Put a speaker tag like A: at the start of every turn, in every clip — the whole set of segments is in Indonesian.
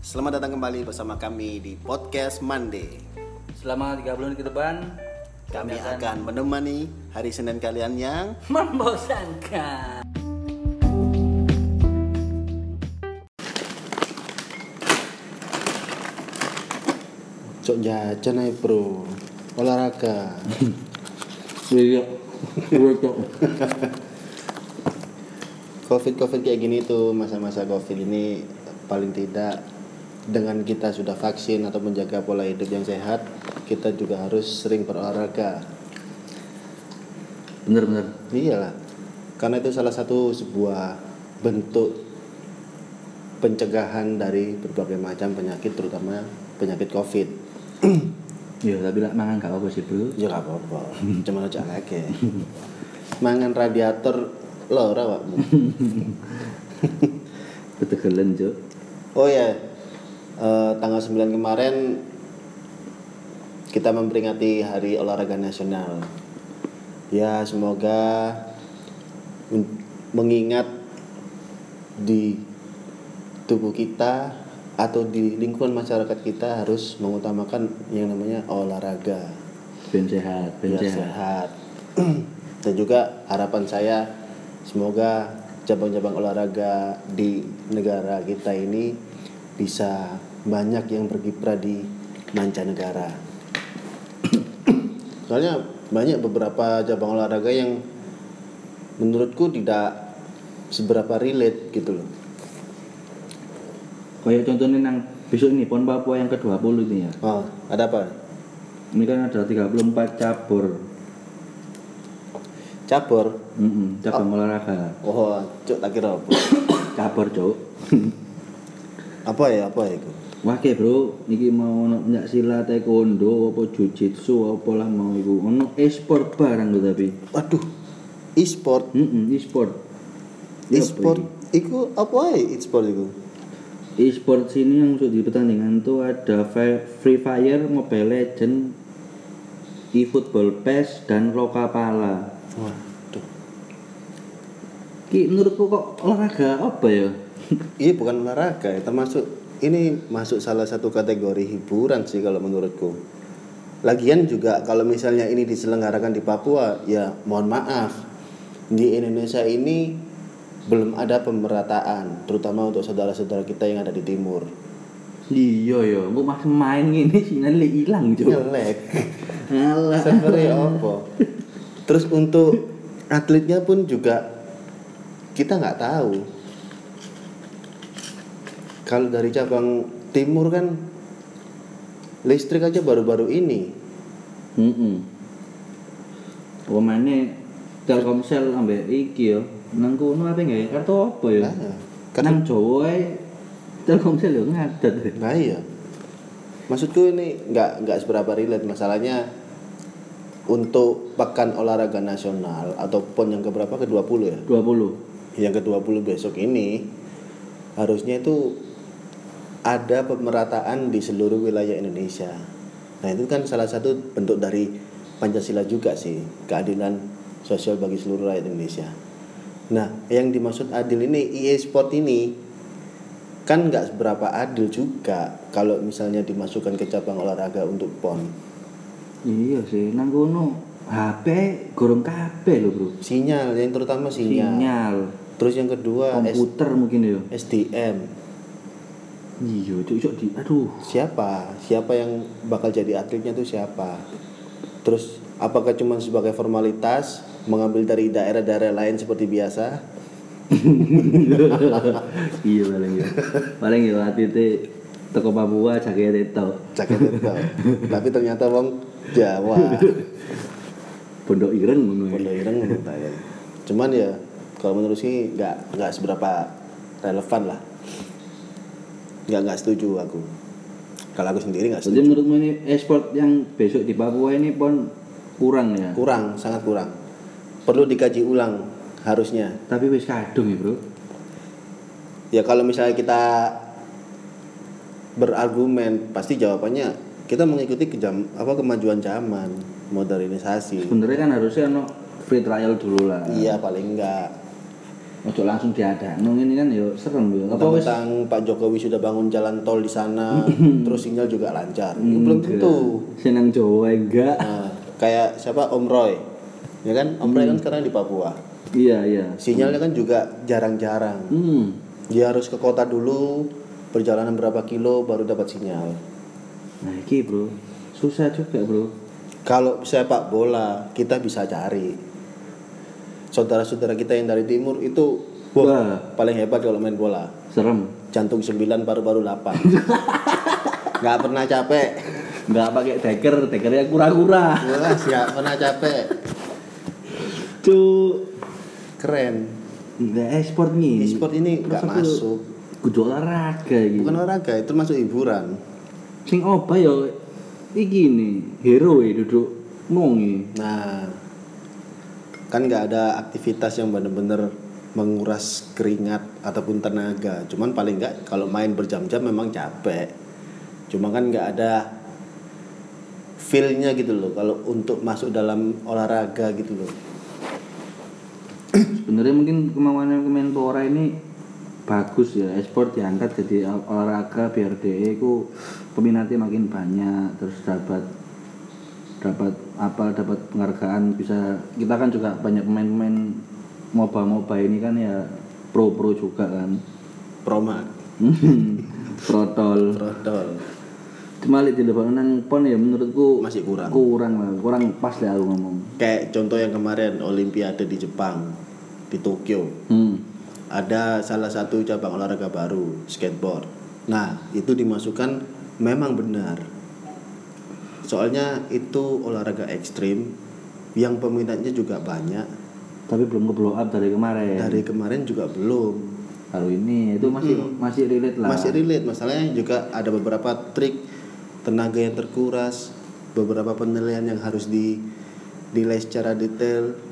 A: Selamat datang kembali bersama kami di podcast Monday.
B: Selama 3 bulan ke depan
A: Kami akan menemani hari Senin kalian yang
B: membosankan.
A: cok jajan aja bro, olahraga.
B: Iya. Betul.
A: Covid covid kayak gini tuh masa-masa covid ini paling tidak dengan kita sudah vaksin atau menjaga pola hidup yang sehat, kita juga harus sering berolahraga.
B: Bener bener.
A: Iyalah, karena itu salah satu sebuah bentuk pencegahan dari berbagai macam penyakit, terutama penyakit COVID.
B: Iya, tapi lah mangan gak apa-apa sih, Bro.
A: Ya gak apa-apa, cuma aja lagi. Mangan radiator lo ora Pak?
B: Ketegelen, Cuk.
A: Oh ya, eh, tanggal 9 kemarin kita memperingati Hari Olahraga Nasional. Ya semoga men- mengingat di tubuh kita atau di lingkungan masyarakat kita harus mengutamakan yang namanya olahraga.
B: Ben sehat, ben
A: biar
B: sehat.
A: Iya, sehat. Dan juga harapan saya semoga cabang-cabang olahraga di negara kita ini bisa banyak yang berkiprah di mancanegara. Soalnya banyak beberapa cabang olahraga yang menurutku tidak seberapa relate gitu loh.
B: Kayak contohnya nang besok ini PON Papua yang ke-20 ini ya.
A: Oh, ada apa?
B: Ini kan ada 34 cabur.
A: Cabur.
B: Mm-mm, cabang olahraga.
A: Oh, cuk tak kira apa.
B: Cabur, Cuk.
A: apa ya? Apa ya itu?
B: Wah, ke, Bro, niki mau ono minyak silat, taekwondo, apa jujitsu, apa lah mau iku. Ono e-sport barang lho tapi.
A: Waduh. E-sport
B: Heeh, e-sport. Iya,
A: e-sport iku apa ae e-sport iku
B: E-sport sini yang untuk di pertandingan tuh ada Fi- Free Fire, Mobile Legend, eFootball PES dan Lokapala.
A: waduh
B: Ki menurutku kok olahraga apa ya?
A: iya bukan olahraga ya, termasuk ini masuk salah satu kategori hiburan sih kalau menurutku lagian juga kalau misalnya ini diselenggarakan di Papua ya mohon maaf di Indonesia ini belum ada pemerataan terutama untuk saudara-saudara kita yang ada di timur
B: Iya ya, aku masih main gini sinyal hilang
A: Iya.
B: juga.
A: ngelek
B: Alah.
A: servernya opo terus untuk atletnya pun juga kita nggak tahu kalau dari cabang timur kan listrik aja baru-baru ini
B: Heeh. Pemane Telkomsel ambek iki ya. Nang kono apa nggak ya? Kartu apa ya?
A: nah, karena
B: Nang Jawa ae Telkomsel ya ngadat. ya.
A: nah iya maksudku ini nggak nggak seberapa relate masalahnya untuk pekan olahraga nasional ataupun yang keberapa ke 20 ya
B: 20.
A: yang ke-20 besok ini harusnya itu ada pemerataan di seluruh wilayah Indonesia. Nah, itu kan salah satu bentuk dari Pancasila juga sih, keadilan sosial bagi seluruh rakyat Indonesia. Nah, yang dimaksud adil ini EA Sport ini kan nggak seberapa adil juga kalau misalnya dimasukkan ke cabang olahraga untuk PON.
B: Iya sih, nang kono HP gorong kabeh lho, Bro.
A: Sinyal yang terutama sinyal.
B: Sinyal,
A: Terus yang kedua Iya. S-
B: komputer mungkin ya.
A: SDM.
B: Iya, cuk cuk di aduh.
A: siapa siapa yang bakal jadi atletnya tuh siapa terus apakah cuma sebagai formalitas mengambil dari daerah-daerah lain seperti biasa
B: iya paling ya. Paling ya atite teko Papua jake teto.
A: cakep itu tapi ternyata wong Jawa
B: Pondok Ireng ngono ya.
A: Bondo ireng menurut saya. cuman ya kalau menurut sih nggak nggak seberapa relevan lah nggak nggak setuju aku kalau aku sendiri nggak
B: Jadi
A: setuju
B: menurutmu ini ekspor yang besok di Papua ini pon kurang ya.
A: kurang sangat kurang perlu dikaji ulang harusnya
B: Tapi wis kadung ya, Bro.
A: ya kalau misalnya kita berargumen pasti jawabannya kita mengikuti kejam apa kemajuan zaman modernisasi
B: Sebenarnya kan harusnya ono free trial dulu lah.
A: iya paling enggak
B: ojo langsung diadakno ngene kan ya serem ya. Apa wis
A: tentang Pak Jokowi sudah bangun jalan tol di sana terus sinyal juga lancar
B: Hmm,
A: Itu
B: iya.
A: belum tentu
B: seneng Jawa enggak?
A: Nah, kayak siapa Om Roy ya kan Om Roy kan
B: Hmm.
A: sekarang di Papua
B: Iya, iya.
A: sinyalnya kan juga jarang-jarang
B: Hmm.
A: dia harus ke kota dulu perjalanan berapa kilo baru dapat sinyal
B: Nah, iki, Bro. Susah juga, Bro.
A: kalau sepak bola kita bisa cari saudara-saudara kita yang dari timur itu wah,
B: Wah,
A: paling hebat kalau main bola
B: serem.
A: jantung 9 paru-paru 8 nggak pernah capek
B: Enggak pakai deker, dekernya kura-kura.
A: Wah, nggak pernah capek
B: Cuk.
A: keren
B: Enggak ekspor nih.
A: e-sport ini nggak
B: Masa
A: masuk
B: Kudu olahraga iki.
A: bukan olahraga itu masuk hiburan
B: Sing apa ya iki nih, hero ya duduk eh. nongi.
A: nah kan nggak ada aktivitas yang bener-bener menguras keringat ataupun tenaga cuman paling nggak kalau main berjam-jam memang capek cuma kan nggak ada feelnya gitu loh kalau untuk masuk dalam olahraga gitu loh
B: Sebenarnya mungkin kemauannya Kemenpora ini bagus ya ekspor diangkat jadi ol- olahraga biar DE ku peminatnya makin banyak terus dapat dapat apa dapat penghargaan bisa kita kan juga banyak pemain-pemain moba-moba ini kan ya pro-pro juga kan
A: proma
B: protol
A: protol
B: cuma lihat di depan nang pon ya menurutku
A: masih kurang
B: kurang lah kurang pas lah aku ngomong
A: kayak contoh yang kemarin olimpiade di Jepang di Tokyo
B: hmm.
A: ada salah satu cabang olahraga baru skateboard nah itu dimasukkan memang benar soalnya itu olahraga ekstrim yang peminatnya juga banyak
B: tapi belum ke blow up dari kemarin
A: dari kemarin juga belum
B: baru ini itu masih masih relate lah
A: masih relate masalahnya juga ada beberapa trik tenaga yang terkuras beberapa penilaian yang harus di dinilai secara detail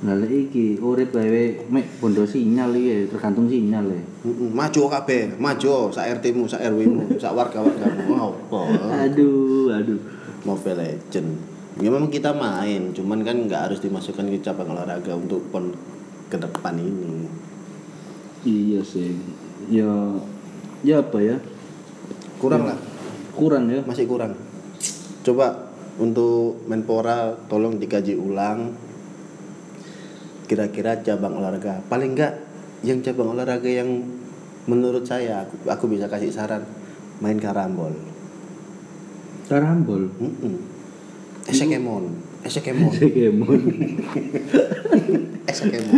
B: Lah lek iki urip bae mek bondo sinyal iki tergantung sinyal ya.
A: Mm-mm, maju kabeh maju sak RT mu sak RW mu sak warga wargamu wow, wow.
B: Aduh, aduh.
A: Mobile Legend. Ya memang kita main, cuman kan nggak harus dimasukkan ke cabang olahraga untuk pon ke depan ini.
B: Iya sih. Ya ya apa ya?
A: Kurang lah,
B: Kurang
A: Ya.
B: ya.
A: masih kurang. Coba untuk Menpora tolong dikaji ulang kira-kira cabang olahraga. Paling nggak yang cabang olahraga yang menurut saya aku, aku bisa kasih saran main karambol.
B: Karambol.
A: Mm-mm. Esekemon, esekemon.
B: Pokemon.
A: SKMO.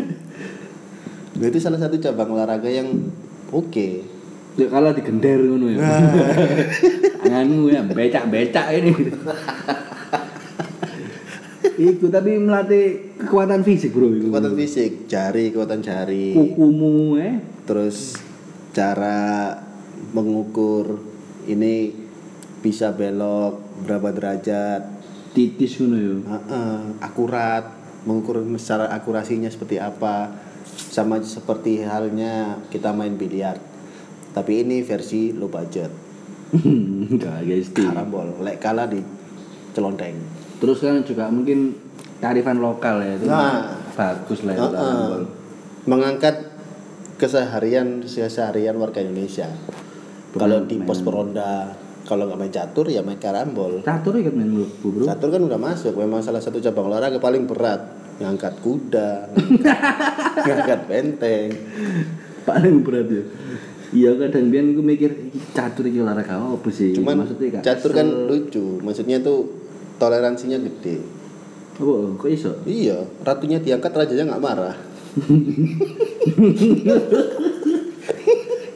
A: Nah, itu salah satu cabang olahraga yang oke.
B: Ya kalah digender ngono ya. Tanganmu ya becak-becak ini. Iku tapi melatih kekuatan fisik, Bro. iku.
A: Kekuatan fisik, jari, kekuatan jari,
B: kukumu eh.
A: terus cara mengukur ini bisa belok berapa derajat,
B: Titis ngono ya.
A: Heeh, akurat, mengukur secara akurasinya seperti apa, sama seperti halnya kita main biliar. Tapi ini versi low budget,
B: Enggak, guys. Ti.
A: karambol, lek kalah di celondeng.
B: Terus kan juga mungkin kearifan lokal ya itu
A: Nah.
B: bagus lah itu
A: Heeh.
B: Karambol.
A: mengangkat keseharian keseharian warga Indonesia. Kalau di pos peronda, kalau nggak main catur ya main karambol.
B: Catur ikut main mlebu, Bro.
A: Catur kan udah masuk, memang salah satu cabang olahraga paling berat. Ngangkat kuda, ngangkat benteng.
B: Paling berat ya. Iya kadang biar gue mikir "Ih, catur iki olahraga apa sih?
A: Cuman
B: Iya, maksudnya gak
A: catur kan
B: kesel.
A: lucu, maksudnya tuh toleransinya gede.
B: apa Oh, kok iso?
A: Iya, ratunya diangkat rajanya nggak marah.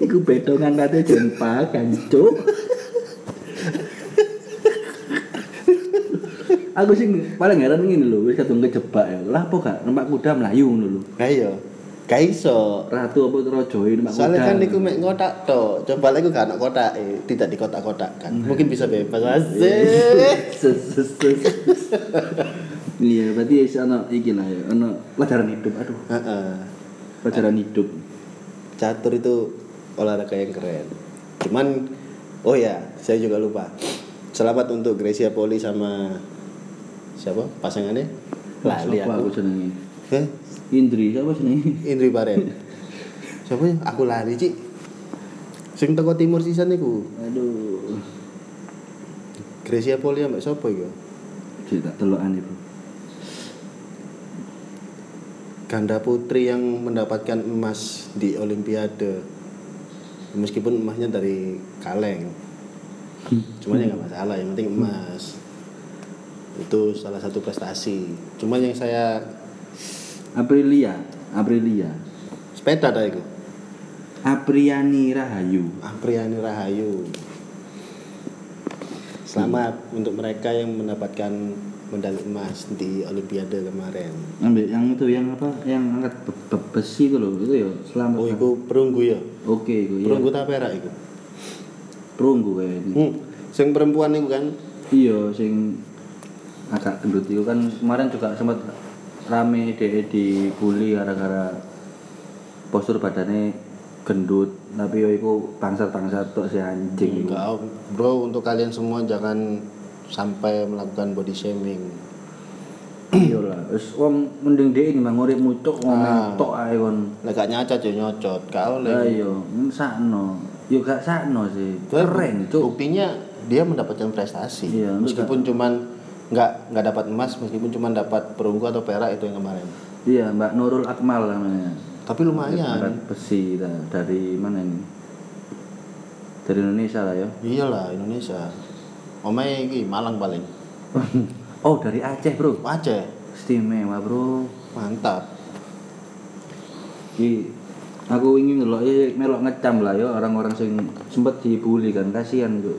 B: Iku beda ngangkatnya jempa kan, Cuk. Aku sih paling heran ngene lho, wis kadung kejebak ya. Lah apa gak numpak kuda mlayu ngono lho.
A: Nah iya, gak iso.
B: Ratu apa rojoi numpak kuda.
A: Soalnya kan niku mek ngotak to. Coba lek gak ana kotak, eh, tidak di kotak-kotak kan. Mungkin bisa bebas asik.
B: Ses, ses, ses. Iya, berarti ya ana iki lah ya, ana pelajaran hidup. Aduh,
A: Heeh.
B: pelajaran hidup.
A: Catur itu olahraga yang keren. Cuman oh ya, saya juga lupa. Selamat untuk Gracia Poli sama siapa pasangannya? Lali
B: Sopo aku
A: aku.
B: jenenge.
A: Eh,
B: Indri siapa sih nih?
A: Indri Baren. Siapa ya? Aku lari, Cik. Sing teko timur sisan niku.
B: Aduh.
A: Gracia Poli ambek sapa ya?
B: Cerita telokan ibu.
A: Ganda putri yang mendapatkan emas di Olimpiade. Meskipun emasnya dari kaleng. Cuman ya nggak masalah, yang penting emas. Itu salah satu prestasi. Cuman yang saya
B: Aprilia, Aprilia,
A: sepeda tadi itu.
B: Apriani Rahayu.
A: Apriani Rahayu. Selamat untuk mereka yang mendapatkan medali emas di Olimpiade kemarin.
B: Ambil yang itu yang apa? Yang angkat be- be- besi itu loh, itu ya selamat.
A: Oh, itu perunggu ya.
B: Oke, itu ya.
A: Perunggu tak perak itu.
B: Perunggu kayaknya.
A: Hmm. Sing perempuan itu kan
B: Iya, sing agak gendut itu kan kemarin juga sempat rame DE dibully gara-gara postur badannya gendut tapi yo iku bangsat-bangsat tok si anjing
A: enggak bro untuk kalian semua jangan sampai melakukan body shaming.
B: iya lah wis wong mending DE nimbang uripmu
A: Ah.
B: tok ngomong tok ae kon
A: Lah gak nyacot ya nyocot. Kau
B: Lah
A: oleh.
B: iya, sakno. Yo gak sakno sih. Keren, Cuk.
A: Buktinya dia mendapatkan prestasi.
B: Iya,
A: meskipun cuman nggak nggak dapat emas, meskipun cuman dapat perunggu atau perak itu yang kemarin.
B: Iya, Mbak Nurul Akmal namanya.
A: Tapi lumayan.
B: Angkat besi dah. dari mana ini? Dari Indonesia lah ya.
A: Iyalah Indonesia. Omae iki Malang paling.
B: oh, dari Aceh, Bro.
A: Aceh.
B: Istimewa, Bro.
A: Mantap.
B: Ki aku ingin ngelok eh, melok ngecam lah ya orang-orang sing sempet dibully kan kasihan Cuk.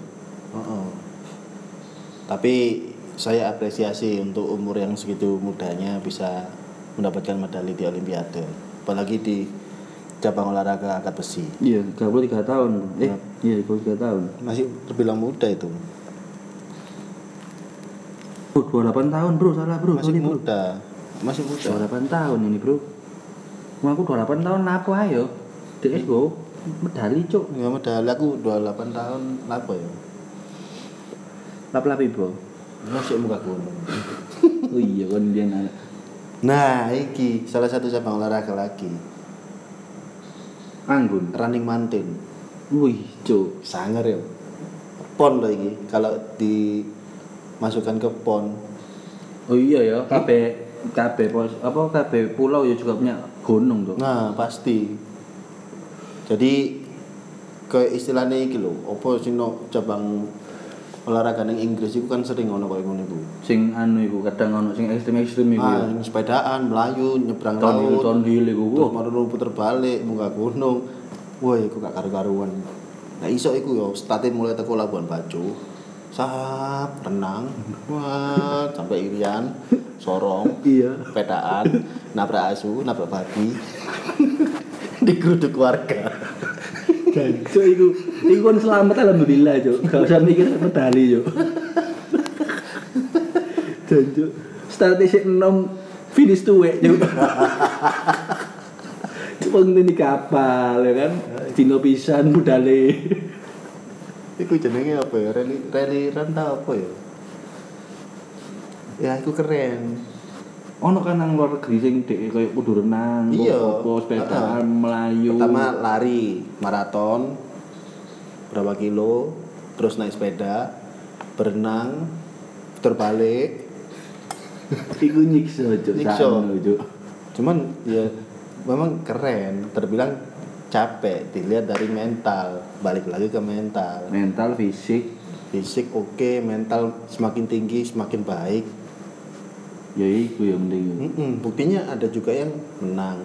A: Heeh. Tapi saya apresiasi untuk umur yang segitu mudanya bisa mendapatkan medali di Olimpiade. Apalagi di cabang olahraga angkat besi.
B: Iya, 33 tahun. Bro. Eh, iya 33 tahun.
A: Masih terbilang muda itu.
B: Oh, 28 tahun, Bro. Salah, Bro.
A: Masih
B: Sorry, Bro.
A: muda. Masih muda.
B: 28 tahun ini bro Wah aku 28 tahun apa ayo DS go medali cuk
A: Ya medali aku 28 tahun apa ya?
B: lap-lap ibu
A: Masih muka gunung.
B: oh iya kan dia anak
A: Nah, iki salah satu cabang olahraga lagi.
B: anggun
A: Running Mountain.
B: wih cuk
A: sangar ya pon loh ini kalau dimasukkan ke pon
B: oh iya ya KB KB pos apa KB pulau ya juga punya gunung tuh
A: nah pasti jadi ke istilahnya iki lho apa sih no cabang olahraga ning Inggris itu kan sering ono koyo ngono iku
B: sing anu iku kadang ono sing ekstrim-ekstrim iku ya
A: ah yang sepedaan melayu nyebrang
B: tahun
A: laut
B: tahun hilir iku
A: terus
B: wah
A: maru puter balik munggah gunung woi iku gak karu-karuan nah iso iku yo starte mulai teko Labuan Bajo sahap renang wah sampai irian sorong
B: iya
A: pedaan nabrak asu nabrak babi digeruduk warga
B: dan cuk iku iku kan selamat alhamdulillah cuk gak usah mikir medali cuk dan cuk statistik 6 finish tuwek cuk cuma ngene kapal ya kan dino pisan budale
A: itu jenenge apa ya rally rally renta apa ya ya itu keren
B: ono kan nang luar negeri sing dek koyo kudu renang
A: Iya.
B: apa sepeda
A: Ah.
B: melayu
A: pertama lari maraton berapa kilo terus naik sepeda berenang terbalik
B: iku nyiksa cuk
A: Nyiksa.
B: sakno, cuk
A: cuman ya memang keren terbilang capek dilihat dari mental balik lagi ke mental
B: mental fisik
A: fisik oke mental semakin tinggi semakin baik
B: ya iku ya mending
A: Mm-mm, buktinya ada juga yang menang,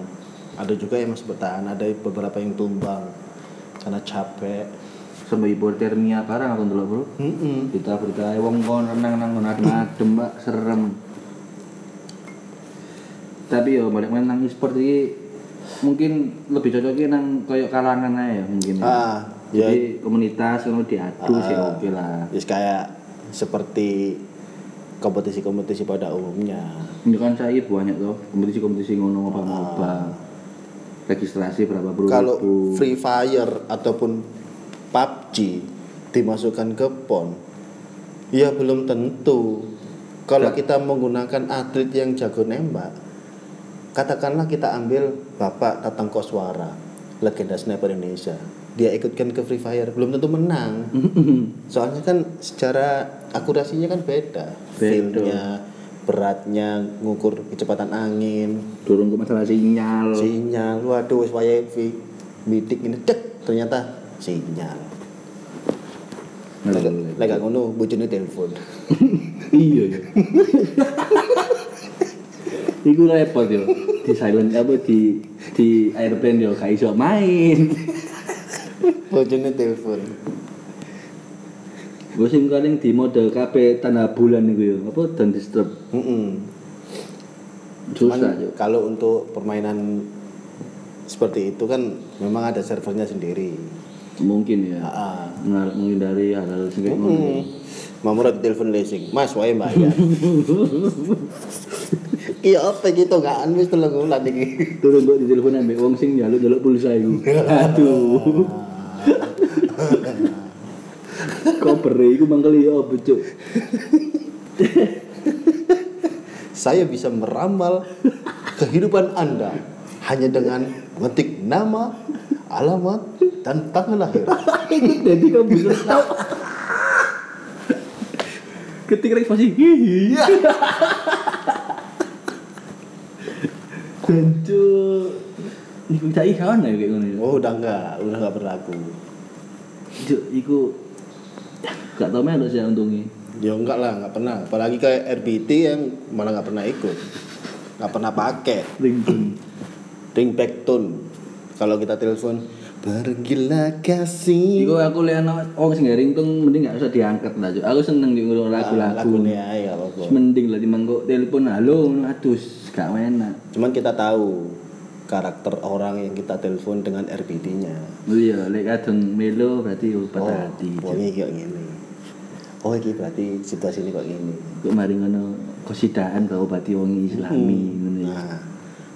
A: ada juga yang masih bertahan, ada beberapa yang tumbang karena capek.
B: sama hipotermia barang aku ndelok bro
A: Mm-mm.
B: kita berkaya wong kon renang nang kono adem mbak serem tapi yo balik main nang e-sport iki mungkin lebih cocoknya nang koyo kalangan aja ya mungkin ya.
A: Ah, ya,
B: jadi komunitas kalau diadu sih
A: Ah.
B: oke lah
A: ya kayak seperti kompetisi-kompetisi pada umumnya.
B: ini kan saya banyak tuh kompetisi-kompetisi
A: Ah.
B: ngono apa apa registrasi berapa bro
A: Kalau Free Fire ataupun PUBG dimasukkan ke PON, ya
B: Ya.
A: belum tentu. Kalau kita menggunakan atlet yang jago nembak, katakanlah kita ambil Bapak Tatang Koswara legenda sniper Indonesia dia ikutkan ke Free Fire belum tentu menang soalnya kan secara akurasinya kan beda
B: Beda.
A: feel-nya beratnya ngukur kecepatan angin
B: Durung kok masalah sinyal.
A: sinyal waduh wis wayahe fi- mitik ini cek ternyata sinyal
B: Ngeluh.
A: lek gak ngono bojone telepon
B: iya ya. Iku repot yo. Di silent apa di di airplane yo gak iso main.
A: bojone telepon
B: Gue sing paling di mode KB tanda bulan iku yo. Apa dan disturb.
A: Mm-mm. Cuman
B: Susah yo.
A: kalau untuk permainan seperti itu kan memang ada servernya sendiri
B: Mungkin ya.
A: Heeh. Mm.
B: Ngar- menghindari hal-hal sing kayak ngono.
A: Mm-mm. Mamura telepon leasing, Mas, wae bayar. Iya apa gitu nggak wis telung wulan iki.
B: Turun gue di telepon ambek wong sing njaluk-njaluk pulsa iku. Aduh. Kopere iku mangkel yo apa cuk.
A: Saya bisa meramal kehidupan Anda hanya dengan mengetik nama, alamat, dan tanggal lahir.
B: Ikut jadi kamu bisa tahu. Ketika Rex pasti hihi. Tentu. Iku tak ikan ya kayak gini.
A: Oh, udah nggak, udah nggak berlaku.
B: Cuk, iku gak tau melo sih untungnya.
A: Ya enggak lah, nggak pernah. Apalagi kayak RBT yang malah nggak pernah ikut, nggak pernah pakai.
B: Ringtone.
A: Ring tone. Kalau kita telepon, pergilah kasih.
B: Iku aku lihat orang sing gak ringtone mending gak usah diangkat lah Cuk. Aku seneng di lagu-lagu.
A: Ah, Lagunya ya apa-apa.
B: Mending lah timbang kok telepon halo ngono, aduh gak enak.
A: Cuman kita tahu karakter orang yang kita telepon dengan RBD-nya.
B: Iya, lek kadung melo berarti patah
A: Oh,
B: hati. Cuk.
A: Wong iki kok ngene. Oh iki berarti situasi ini kok ngene.
B: Kok mari ngono kosidaan karo bati wong islami ngono ya.
A: Nah,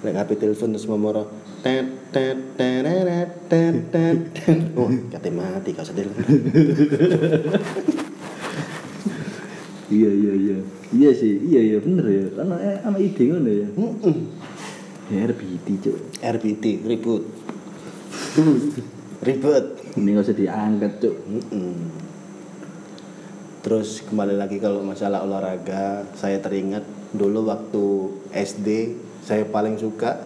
A: lek HP telepon terus memoro tet tet tereret, tet tet tet. Oh, kate mati kau sedih.
B: Iya iya iya. Iya sih, iya iya bener ya. Ana eh, ana ide ngono ya. Ya RBT cuk.
A: RBT ribut. Ribut.
B: Ini gak usah diangkat cuk.
A: Mm-mm. Terus kembali lagi kalau masalah olahraga, saya teringat dulu waktu SD saya paling suka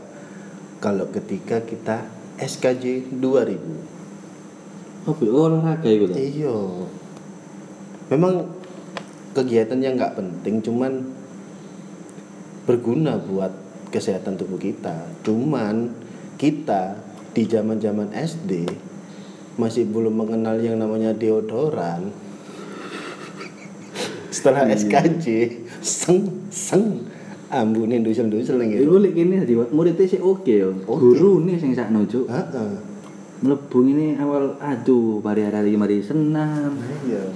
A: kalau ketika kita SKJ 2000.
B: Apa ya, olahraga iku ta?
A: Iya. Memang kegiatan yang nggak penting cuman berguna buat kesehatan tubuh kita. Cuman kita di zaman-zaman SD masih belum mengenal yang namanya deodoran. Setelah SKJ, seng seng ambune dusel-dusel ning gitu.
B: Iku lek kene dadi muridnya sih oke ya. Guru nih sing sakno cuk.
A: Heeh.
B: Mlebu ini awal aduh mari hari mari senam.
A: Iya.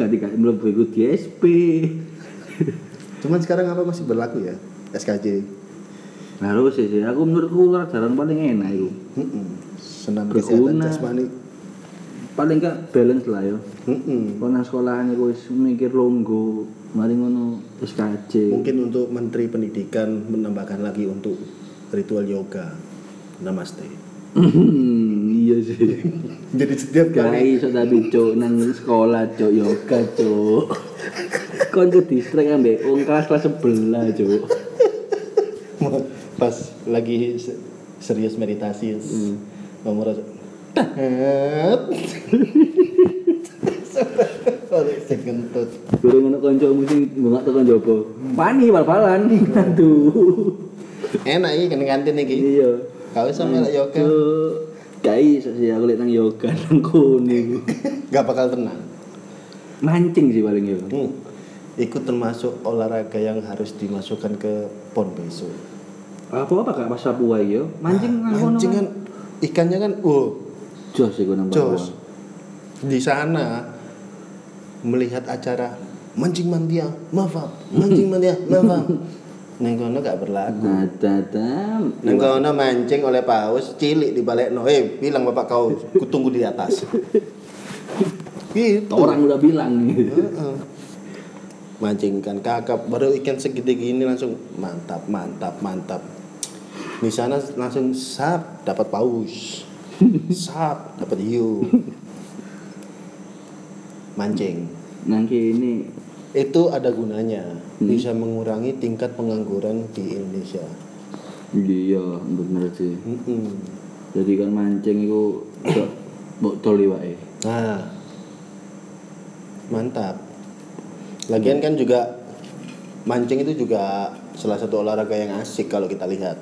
B: Gak dikasih mlebu iku DSP.
A: Cuman sekarang apa masih berlaku ya SKJ?
B: Nah, harus sih, sih. aku menurutku olahraga paling enak itu.
A: Mm-mm. Senam kesehatan
B: Berguna.
A: jasmani.
B: Paling gak balance lah ya.
A: Mm-mm.
B: Kalau nang sekolahan iku wis mikir longgo, mari ngono SKJ.
A: Mungkin untuk Menteri Pendidikan menambahkan lagi untuk ritual yoga. Namaste.
B: iya sih.
A: Jadi setiap
B: Gak
A: kali
B: iso tapi cuk nang sekolah cuk yoga cuk. Kon ke distrik ambek wong kelas-kelas sebelah cuk.
A: pas lagi se- serius meditasi nomor Saya kentut.
B: Durung ngono kancamu sing bengak tekan jopo. Pani bal-balan. Aduh.
A: Enak iki kene kantin iki.
B: Iya.
A: Kau sama lah yoga
B: Cuk. Gak iso sih aku lihat nang yoga nang kono iku.
A: gak bakal tenang.
B: Mancing sih paling yo.
A: Hmm. Ikut termasuk olahraga yang harus dimasukkan ke pon besok.
B: Apa-apa gak pas Papua iki yo. Mancing nang kono.
A: Mancing kan ikannya kan wow
B: Jos iku nang Papua.
A: Jos di sana melihat acara mancing mantia mafab mancing mantia mafab neng kono gak berlaku
B: Nah, dadam.
A: neng kono mancing oleh paus cilik di balik eh bilang bapak kau kutunggu di atas gitu
B: Orang udah bilang nih.
A: Heeh. mancing ikan kakap baru ikan segede gini langsung mantap mantap mantap di sana langsung sap dapat paus sap dapat hiu mancing
B: nanti ini
A: itu ada gunanya bisa mengurangi tingkat pengangguran di Indonesia
B: iya bener sih
A: Mm-mm.
B: jadi kan mancing itu do- mbok tol iwake
A: nah mantap lagian kan juga mancing itu juga salah satu olahraga yang asik kalau kita lihat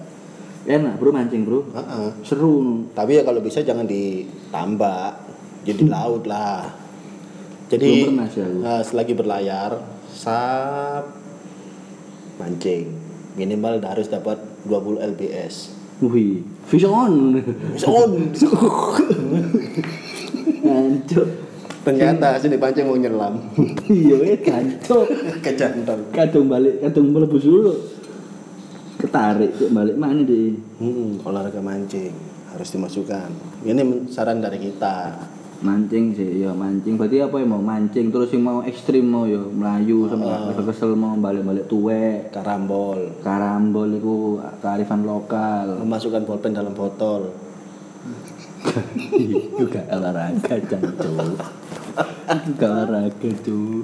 B: enak bro mancing bro
A: Ah-ah.
B: seru
A: tapi ya kalau bisa jangan ditambak jadi laut lah jadi
B: Hmm. Belum pernah sih aku.
A: eh, selagi berlayar sap mancing minimal harus dapat 20 lbs
B: wih fish on
A: on
B: Gancok.
A: ternyata sini pancing mau nyelam
B: iya weh gancok
A: kecantol
B: kadung balik kadung melebus dulu ketarik cek balik mana deh
A: hmm, olahraga mancing harus dimasukkan ini saran dari kita
B: mancing sih ya mancing berarti apa yang mau mancing terus yang mau ekstrim mau ya melayu sampai kesel mau balik-balik tuwek
A: karambol
B: karambol itu kearifan lokal
A: memasukkan bolpen dalam botol
B: itu gak olahraga jancok itu gak olahraga cuy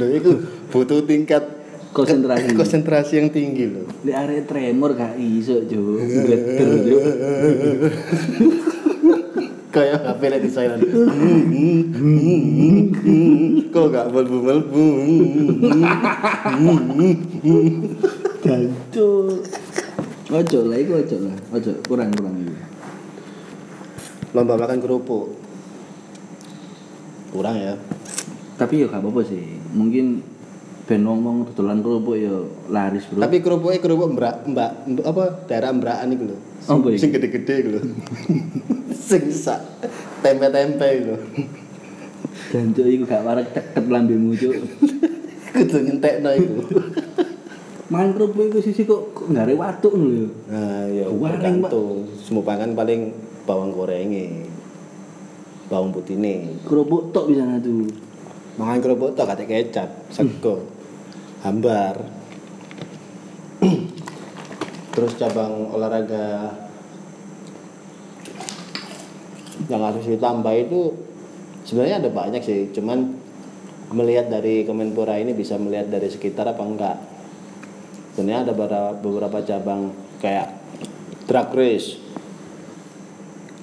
A: Loh, itu butuh tingkat
B: konsentrasi
A: konsentrasi yang tinggi loh
B: di area tremor gak iso cuy geter cuy
A: kayak HP lagi silent kok gak melbu melbu
B: jancok ojo lah itu ojo lah ojo kurang kurang itu
A: lomba makan kerupuk kurang ya
B: tapi ya gak apa-apa sih mungkin ben wong wong dodolan kerupuk ya laris bro
A: tapi kerupuknya kerupuk mbak mbak mbak- apa daerah mbrakan itu loh
B: Apa iki?
A: sing gede-gede itu loh sing sak tempe-tempe itu loh
B: dan cuk iku gak warak ceket lambemu cuk
A: kudu nyentekno itu
B: mangan kerupuk iku sisi kok kok gak ada watuk lho ya
A: nah ya
B: Waring,
A: tergantung semua pangan paling bawang gorengnya bawang putih nih
B: kerupuk tok bisa ngatu
A: mangan kerupuk tok kate kecap sego hambar terus cabang olahraga yang harus ditambah itu sebenarnya ada banyak sih cuman melihat dari Kemenpora ini bisa melihat dari sekitar apa enggak sebenarnya ada bara- beberapa cabang kayak drag race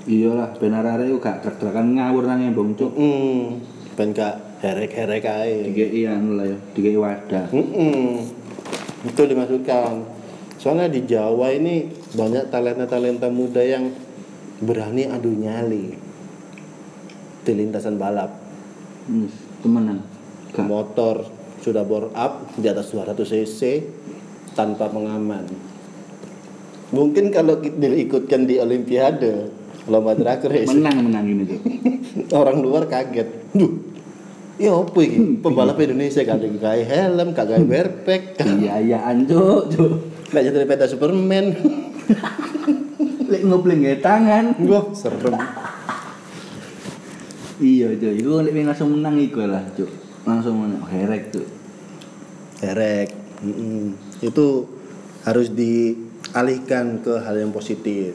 B: iyalah ben arek-arek iku gak trek-trekan ngawur nang embong cuk
A: mm, ben gak herek-herek aja
B: dikei anu lah ya dikei wadah
A: Mm-mm. Itu dimasukkan. Soalnya di Jawa ini banyak talenta-talenta muda yang berani adu nyali di lintasan balap.
B: Yes, temenan gak
A: Motor sudah bore up di atas 200 cc tanpa pengaman. Mungkin kalau ki- diikutkan di Olimpiade lomba drag race,
B: menang menang ini cuk
A: orang luar kaget. Duh, ya apa ini? Pembalap Indonesia gak ada yang gawe helm, gak gawe wearpack,
B: iya iya anjuk cuk
A: gak jadi peta Superman.
B: lek ngobleng ya tangan
A: Wah, serem.
B: iya cuk iku lek pengen langsung menang iku lah cuk langsung menang Oh, herek cuk
A: Erek. Mm-mm. Itu harus dialihkan ke hal yang positif.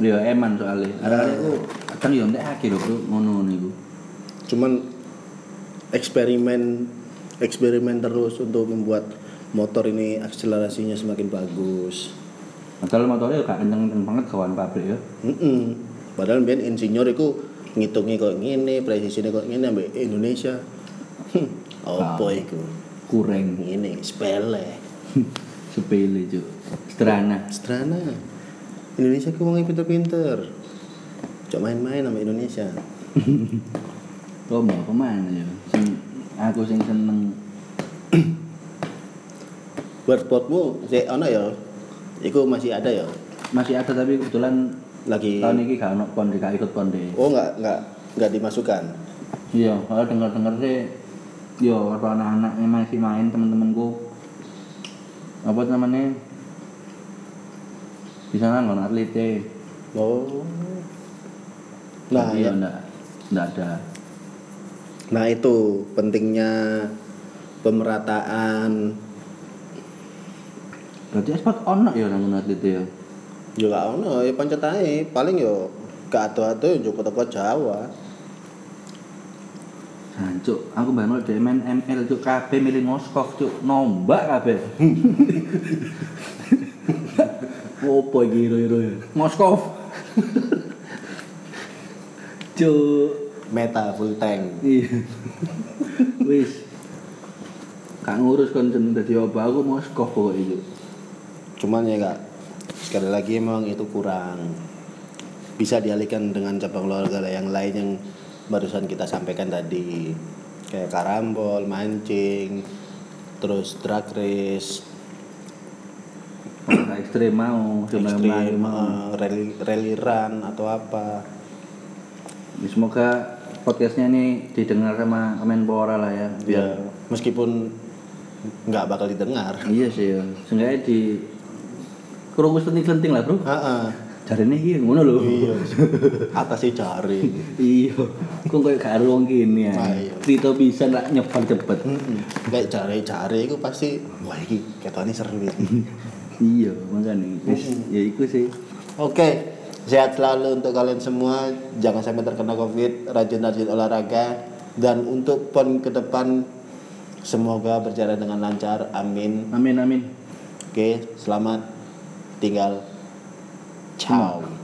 B: Ya eman soalnya. Arek-arek ku kadang yo ndek akeh lho bro ngono niku.
A: Cuman eksperimen eksperimen terus untuk membuat motor ini akselerasinya semakin bagus.
B: Padahal motornya yo gak kenceng-kenceng banget kawan pabrik yo.
A: Mm-mm. Padahal ben insinyur itu ngitungnya kok ngene, presisinya kok ngene ambek Indonesia. Hm, apa iku?
B: Kurang
A: Ngene sepele.
B: sepele cuk. Sederhana.
A: Sederhana. Indonesia ku wong pinter-pinter. Cok main-main sama Indonesia.
B: Kok mau kemana yo? Sing aku sing seneng
A: Workboardmu sik ana ya. Iku masih ada ya.
B: masih ada tapi kebetulan
A: Lagi
B: tahun ini gak ono pon gak ikut pon deh.
A: Oh enggak enggak enggak dimasukkan.
B: Iya, kalau dengar-dengar sih yo kalau anak-anak yang masih main temen-temenku apa namanya di sana nggak atlet eh. deh
A: Oh. Nah,
B: iya
A: ya.
B: enggak enggak ada
A: nah itu pentingnya pemerataan
B: Berarti ekspor ono ya namun atlet ya.
A: Ya gak ono, ya pancet ae. Paling yo gak ado-ado yo teko Jawa.
B: Jancuk, Nah, aku bangun dhewe main ML cuk kabeh milih ngoskok cuk, nombak kabeh. Opo iki ro-ro ya? Moskov. cuk,
A: Meta full tank.
B: iya. Wis. Kak ngurus kon jeneng dadi apa aku Moskov pokoke cuk.
A: Cuman ya kak, sekali lagi memang itu kurang. Bisa dialihkan dengan cabang olahraga yang lain yang barusan kita sampaikan tadi. Kayak karambol, mancing, terus drag race,
B: Olahraga ekstrem mau, sebenarnya
A: ekstrim,
B: mau.
A: eh, rally, rally run atau apa.
B: Semoga podcastnya ini didengar sama Kemenpora lah ya.
A: Ya, meskipun nggak bakal didengar.
B: Iya sih ya. Seenggaknya di kerungu selenting-selenting lah bro.
A: Heeh.
B: Jarene iki ngono lho.
A: Iya. Atas si jari.
B: Iya. Kok koyo gak ruang gini ya.
A: Ah, iya.
B: Cerita bisa nak nyebar cepet.
A: Kayak jari-jari itu pasti wah ini ketone seru ini.
B: Iya, makane wis ya iku sih.
A: Oke, sehat selalu untuk kalian semua. Jangan sampai terkena Covid, rajin-rajin olahraga dan untuk pon ke depan semoga berjalan dengan lancar. Amin.
B: Amin amin.
A: Oke, selamat tinggal. Ciao.